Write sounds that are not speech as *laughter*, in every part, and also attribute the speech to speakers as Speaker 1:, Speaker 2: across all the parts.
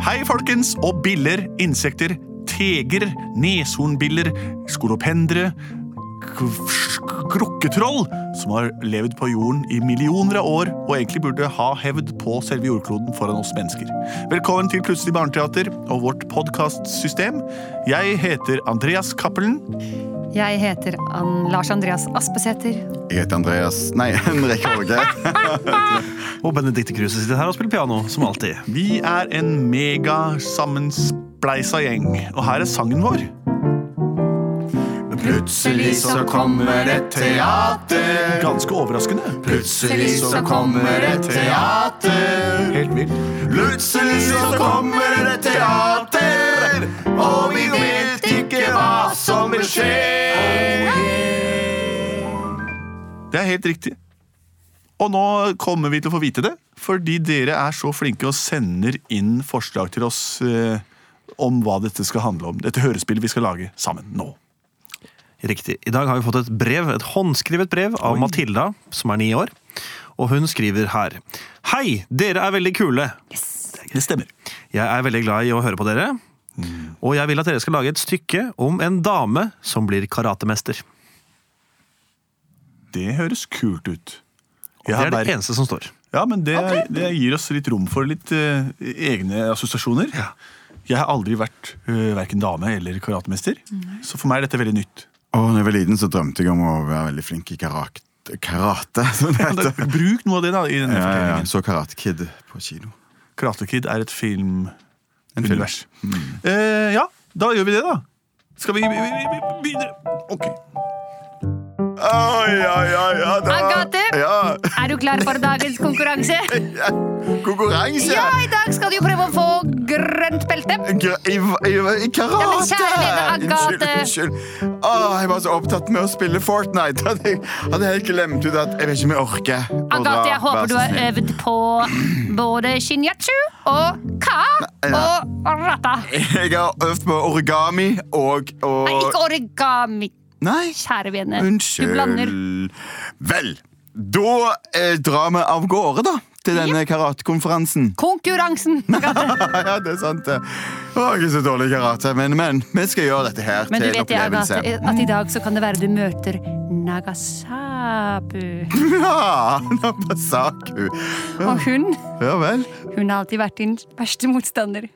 Speaker 1: Hei, folkens, og biller, insekter, teger, neshornbiller, skolopendre, krukketroll, som har levd på jorden i millioner av år og egentlig burde ha hevd på selve jordkloden foran oss mennesker. Velkommen til Plutselig barneteater og vårt podkastsystem. Jeg heter Andreas Cappelen.
Speaker 2: Jeg heter Ann Lars Andreas Aspesæter.
Speaker 3: Jeg heter Andreas Nei, *laughs* Henrik Håge.
Speaker 4: Og Benedicte Kruse sitter her og spiller piano, som alltid.
Speaker 1: Vi er en mega sammenspleisa gjeng, og her er sangen vår.
Speaker 3: Plutselig så kommer et teater.
Speaker 1: Ganske overraskende.
Speaker 3: Plutselig så kommer et teater.
Speaker 1: Helt vilt.
Speaker 3: Plutselig så kommer et teater. Og vi vet ikke hva som vil skje.
Speaker 1: Det er helt riktig. Og nå kommer vi til å få vite det, fordi dere er så flinke og sender inn forslag til oss eh, om hva dette skal handle om. Dette hørespillet vi skal lage sammen nå.
Speaker 4: Riktig. I dag har vi fått et brev, et håndskrevet brev av Matilda, som er ni år. Og hun skriver her. Hei, dere er veldig kule.
Speaker 1: Det stemmer.
Speaker 4: Jeg er veldig glad i å høre på dere.
Speaker 1: Mm.
Speaker 4: Og jeg vil at dere skal lage et stykke om en dame som blir karatemester.
Speaker 1: Det høres kult ut.
Speaker 4: Det
Speaker 1: Jeg har
Speaker 4: er det
Speaker 1: bare-
Speaker 4: eneste som står.
Speaker 1: Ja, men det, det gir oss litt rom for litt eh, egne assosiasjoner.
Speaker 4: Ja.
Speaker 1: Jeg har aldri vært uh, verken dame eller karatemester, så for meg er dette veldig nytt.
Speaker 3: Og når jeg var liten, så drømte jeg om å være veldig flink i karak- karate. som det
Speaker 1: Da,
Speaker 3: heter.
Speaker 1: Altså, bruk noe av det da, i denne
Speaker 3: Ja, ja, ja.
Speaker 1: fortellingen.
Speaker 3: Så Karate Kid på kino.
Speaker 1: Karate Kid er et filmunivers.
Speaker 3: En film. Mm.
Speaker 1: Eh, ja, da gjør vi det, da. Skal vi vi- vi- vi- begynne? Ok.
Speaker 3: Oi, oi, oi, ja, da.
Speaker 2: Agathe!
Speaker 3: Ja,
Speaker 2: Er du klar for dagens
Speaker 3: *laughs*
Speaker 2: konkurranse?
Speaker 3: konkurranse!
Speaker 2: Ja, i dag skal du jo prøve å få grønt belte.
Speaker 3: Gr- I, i, I karate!
Speaker 2: Ja, men kjære vene, Agathe.
Speaker 3: Unnskyld. unnskyld. Åh, jeg var så opptatt med å spille Fortnite at jeg hadde helt glemt ut at jeg vet ikke om jeg orker. å dra.
Speaker 2: Agathe, jeg håper
Speaker 3: Vær så
Speaker 2: du har
Speaker 3: snill.
Speaker 2: øvd på både shinyachu og ka og rata.
Speaker 3: Jeg har øvd på origami og,
Speaker 2: eh, Nei,
Speaker 3: og...
Speaker 2: ikke origami,
Speaker 3: Nei,
Speaker 2: kjære vene. Du blander.
Speaker 3: unnskyld. Vel, da eh, drar vi av gårde, da. Til denne karatekonferansen. *laughs*
Speaker 2: Konkurransen! Agathe.
Speaker 3: ja, det er sant, det. Å, ikke så dårlig i karate, men, men vi skal gjøre dette her
Speaker 2: Men du
Speaker 3: til en
Speaker 2: vet det, Agathe,
Speaker 3: opplevelse.
Speaker 2: at i dag så kan det være du møter Nagasabu.
Speaker 3: *laughs* Ja, Nabasaku.
Speaker 2: Og hun,
Speaker 3: Ja vel.
Speaker 2: hun har alltid vært din verste motstander.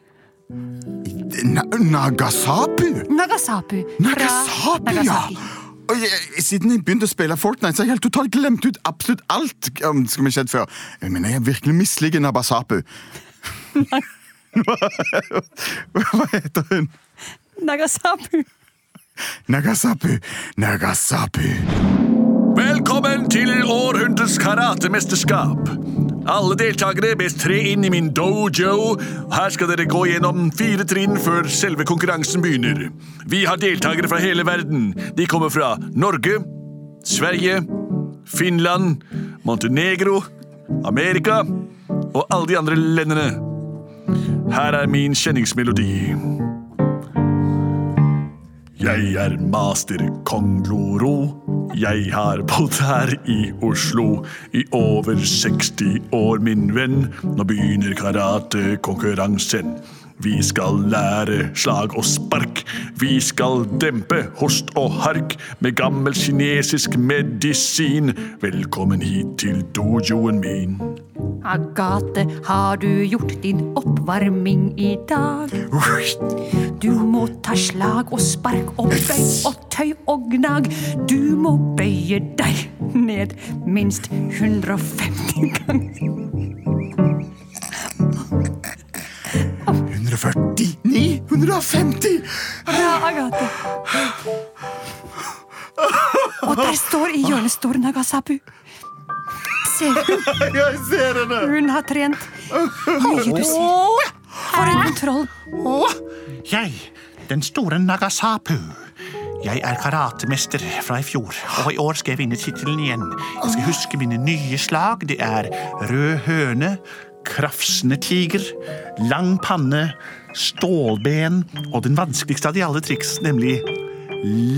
Speaker 3: Na Nagasabu?
Speaker 2: Nagasabu. fra
Speaker 3: Nagasabu, ja!
Speaker 2: Nagasaki.
Speaker 3: Og jeg, siden jeg begynte å spille Fortnite, så har jeg helt totalt glemt ut absolutt alt. um, som har skjedd før. Jeg mener, jeg virkelig misliker Nabasapu. *laughs* Hva hva heter hun?
Speaker 2: Nagasabu.
Speaker 3: Nagasapu. Nagasapu.
Speaker 1: Velkommen til århundrets karatemesterskap. Alle deltakere bes tre inn i min dojo. Her skal dere gå gjennom fire trinn før selve konkurransen begynner. Vi har deltakere fra hele verden. De kommer fra Norge, Sverige, Finland, Montenegro, Amerika og alle de andre landene. Her er min kjenningsmelodi. Jeg er master kong Loro. Jeg har bodd her i Oslo i over 60 år, min venn. Nå begynner karatekonkurransen. Vi skal lære slag og spark. Vi skal dempe host og hark med gammel kinesisk medisin. Velkommen hit til dojoen min.
Speaker 2: Agathe, har du gjort din oppvarming i dag? Du må ta slag og spark og bøy og tøy og gnag. Du må bøye deg ned minst 150 ganger.
Speaker 3: 149? 150?
Speaker 2: Bra, Agathe. Og der står i hjørnet står Nagasabu. Se, hun,
Speaker 3: *laughs* Jeg ser henne!
Speaker 2: hun har trent mye, du ser. For en kontroll.
Speaker 1: Jeg, den store Nagasapu. Jeg er karatemester fra i fjor, og i år skal jeg vinne tittelen igjen. Jeg skal huske mine nye slag. Det er rød høne, krafsende tiger, lang panne, stålben og den vanskeligste av de alle triks, nemlig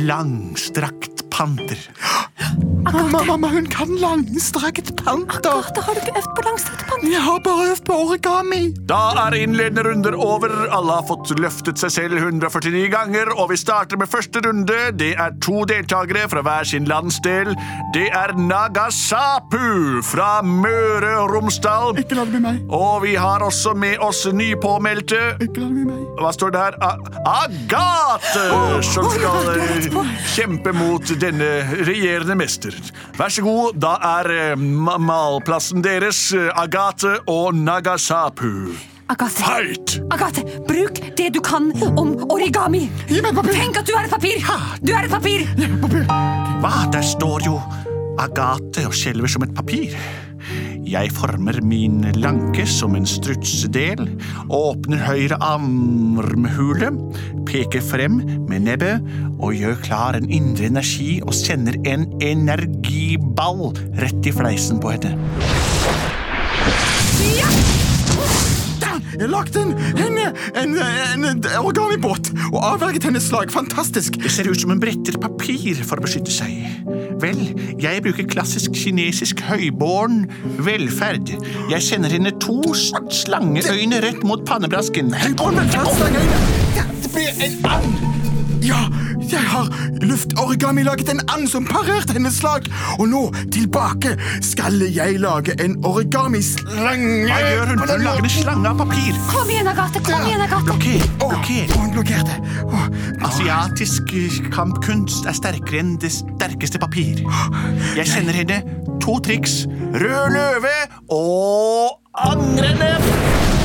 Speaker 1: langstrakt panter.
Speaker 2: Agathe,
Speaker 3: Mamma, hun kan langstrakt panter.
Speaker 2: Agathe, har du ikke øvd på langstrakt pann?
Speaker 3: Jeg har bare øvd på origami.
Speaker 5: Da er innledende runder over. Alle har fått løftet seg selv 149 ganger, og vi starter med første runde. Det er to deltakere fra hver sin landsdel. Det er Nagasapu fra Møre og Romsdal.
Speaker 3: Ikke la det bli meg.
Speaker 5: Og vi har også med oss nypåmeldte
Speaker 3: Ikke la det bli meg.
Speaker 5: Hva står det her? A Agathe! Som
Speaker 2: å, ja,
Speaker 5: skal
Speaker 2: du
Speaker 5: eh,
Speaker 2: vet hva.
Speaker 5: kjempe mot denne regjerende mester. Vær så god, da er eh, ma- malplassen deres eh, Agathe og Nagasapu.
Speaker 2: Agathe,
Speaker 5: Fight!
Speaker 2: Agathe, bruk det du kan om origami.
Speaker 3: Gi meg papir.
Speaker 2: Tenk at du er et papir! Du er et papir!
Speaker 5: Hva? Der står jo Agathe og skjelver som et papir. Jeg former min lanke som en strutsedel, åpner høyre armhule, peker frem med nebbet og gjør klar en indre energi og sender en energiball rett i fleisen på henne.
Speaker 3: Jeg lagde en, en, en, en, en origami-båt og avverget hennes slag. Fantastisk.
Speaker 5: Det ser ut som hun bretter papir for å beskytte seg. Vel, jeg bruker klassisk kinesisk høyborn velferd. Jeg sender henne to s- slangeøyne rett mot pannebrasken.
Speaker 3: Å, men fastlangeøyne! Det blir en and! Ja, jeg har luftorigami laget en and som parerte hennes slag. Og nå, tilbake, skal jeg lage en origamislange.
Speaker 5: Hva gjør hun?
Speaker 3: på
Speaker 5: Hun
Speaker 3: den
Speaker 5: lager en
Speaker 3: måten.
Speaker 5: slange av papir.
Speaker 2: Kom igjen, Agathe! Kom igjen, Agathe!
Speaker 5: Blokker,
Speaker 3: Å,
Speaker 5: blokker.
Speaker 3: og hun blokkerte. Å,
Speaker 5: Altså, Asiatisk eh, kampkunst er sterkere enn det sterkeste papir. Jeg sender henne to triks. Rød løve og angrende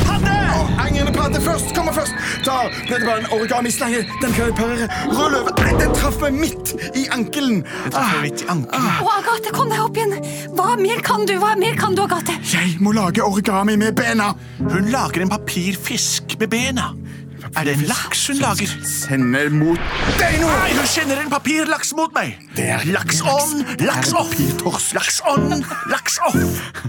Speaker 5: padde!
Speaker 3: Engrende padde først, kommer først. Da ble det bare en origamislange. Den kan jeg parere. Rød løve, Nei, den traff meg midt i ankelen.
Speaker 5: Traff jeg litt i ankelen?
Speaker 2: Å, Agathe, kom deg opp igjen! Hva mer kan du? Hva mer kan du, Agathe?
Speaker 3: Jeg må lage origami med bena.
Speaker 5: Hun lager en papirfisk med bena. Er det en laks hun lager?
Speaker 3: Sender mot deg nå!
Speaker 5: Nei, hun kjenner en papirlaks mot meg!
Speaker 3: Det er ikke
Speaker 5: Laks
Speaker 3: laks.
Speaker 5: on,
Speaker 3: Det er
Speaker 5: laks off!
Speaker 3: papirtorsk.
Speaker 5: Laks on, laks off!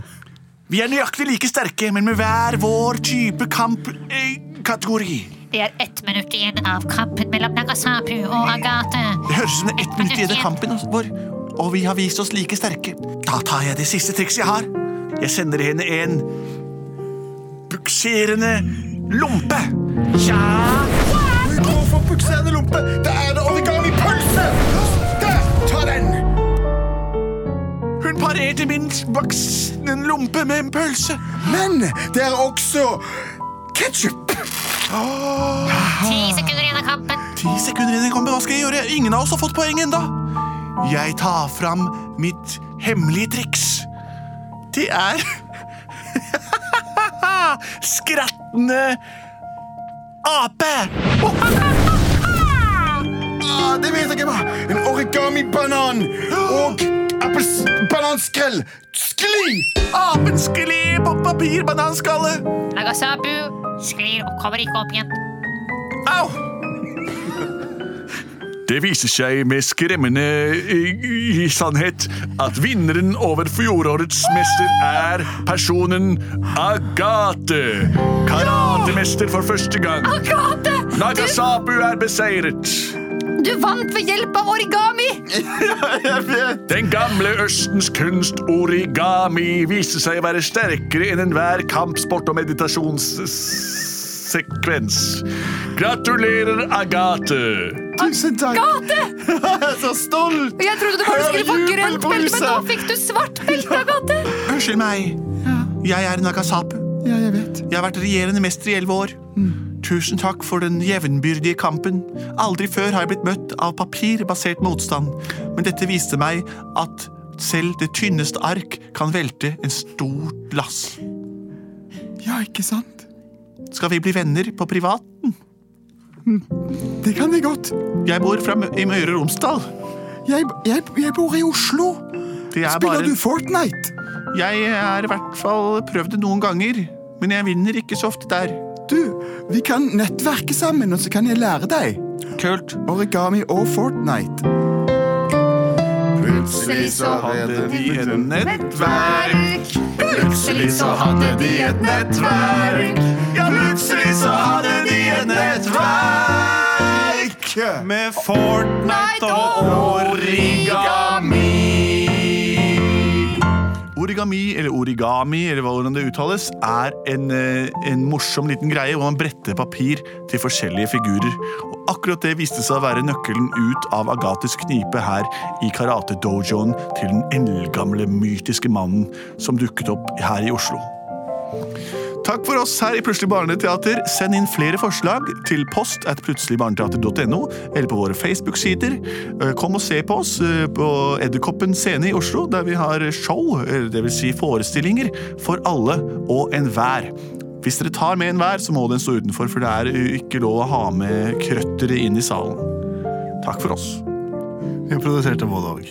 Speaker 5: Vi er nøyaktig like sterke, men med hver vår type eh, kampkategori.
Speaker 6: Det er ett minutt igjen av kampen mellom Nagasapu og Agathe.
Speaker 5: Det høres ut som det er ett minutt igjen av kampen vår, og vi har vist oss like sterke. Da tar jeg det siste trikset jeg har. Jeg sender henne en bukserende lompe. Tja!
Speaker 3: Hun går for bukserende lompe. Da er det origami-pølse! Der! Ta den!
Speaker 5: Hun parerte min voksne lompe med en pølse.
Speaker 3: Men det er også ketsjup.
Speaker 6: Ti sekunder igjen av kampen.
Speaker 5: Ti sekunder inn i kampen, hva skal jeg gjøre? Ingen av oss har fått poeng ennå. Jeg tar fram mitt hemmelige triks. Det er *laughs* Skrattende ape!
Speaker 3: Ah, det vet jeg hva. En origami-banan og appels- bananskrell. Skli!
Speaker 5: Apen skli på papirbananskalle.
Speaker 6: Nagasapu sklir og kommer ikke opp igjen.
Speaker 5: Au! Det viser seg med skremmende eh, sannhet at vinneren over fjorårets mester er personen Agathe. Karatemester for første gang.
Speaker 2: Agathe!
Speaker 5: Nagasapu er beseiret.
Speaker 2: Du vant ved hjelp av origami!
Speaker 3: Jeg vet.
Speaker 5: Den gamle Østens kunst origami viste seg å være sterkere enn enhver kampsport og meditasjonssekvens. Gratulerer, Agathe.
Speaker 3: Tusen takk.
Speaker 2: Agathe!
Speaker 3: Jeg er så stolt.
Speaker 2: Jeg trodde du bare
Speaker 3: Hør
Speaker 2: skulle få grønt belte, men nå
Speaker 3: jubelbruset.
Speaker 2: fikk du svart belte, Agathe!
Speaker 5: Unnskyld meg. Jeg er Nagasapu.
Speaker 3: Ja, jeg vet.
Speaker 5: Jeg har vært regjerende mester i elleve år.
Speaker 3: Mm.
Speaker 5: Tusen takk for den jevnbyrdige kampen. Aldri før har jeg blitt møtt av papirbasert motstand, men dette viste meg at selv det tynneste ark kan velte en stort lass.
Speaker 3: Ja, ikke sant?
Speaker 5: Skal vi bli venner på privat?
Speaker 3: Det kan vi godt.
Speaker 5: Jeg bor fra Mø i Møre og Romsdal.
Speaker 3: Jeg, jeg, jeg bor i Oslo.
Speaker 5: Det er
Speaker 3: Spiller
Speaker 5: bare
Speaker 3: du Fortnite?
Speaker 5: Jeg er i hvert fall prøvd det noen ganger, men jeg vinner ikke så ofte der.
Speaker 3: Du, vi kan nettverke sammen, og så kan jeg lære deg.
Speaker 5: Kult.
Speaker 3: Origami og Fortnite. Plutselig så hadde de et nettverk. Plutselig så hadde de et nettverk. Ja, plutselig så hadde de et nettverk.
Speaker 4: Med Fortnite og
Speaker 3: Origami.
Speaker 1: origami, eller origami, eller hvordan det uttales, er en, eh, en morsom liten greie hvor man bretter papir til forskjellige figurer. Og akkurat det viste seg å være nøkkelen ut av Agathes knipe her i karate-dojoen til den eldgamle, mytiske mannen som dukket opp her i Oslo. Takk for oss her i Plutselig barneteater. Send inn flere forslag til post at plutseligbarneteater.no eller på våre Facebook-sider. Eh, Kom og se på oss eh, på Edderkoppen scene i Oslo, der vi har show, eh, det vil Si forestillinger, for alle og enhver. Hvis dere tar med enhver, så må den stå utenfor, for det er eh, ikke lov å ha med krøttere inn i salen. Takk for oss.
Speaker 3: Vi produserte både òg.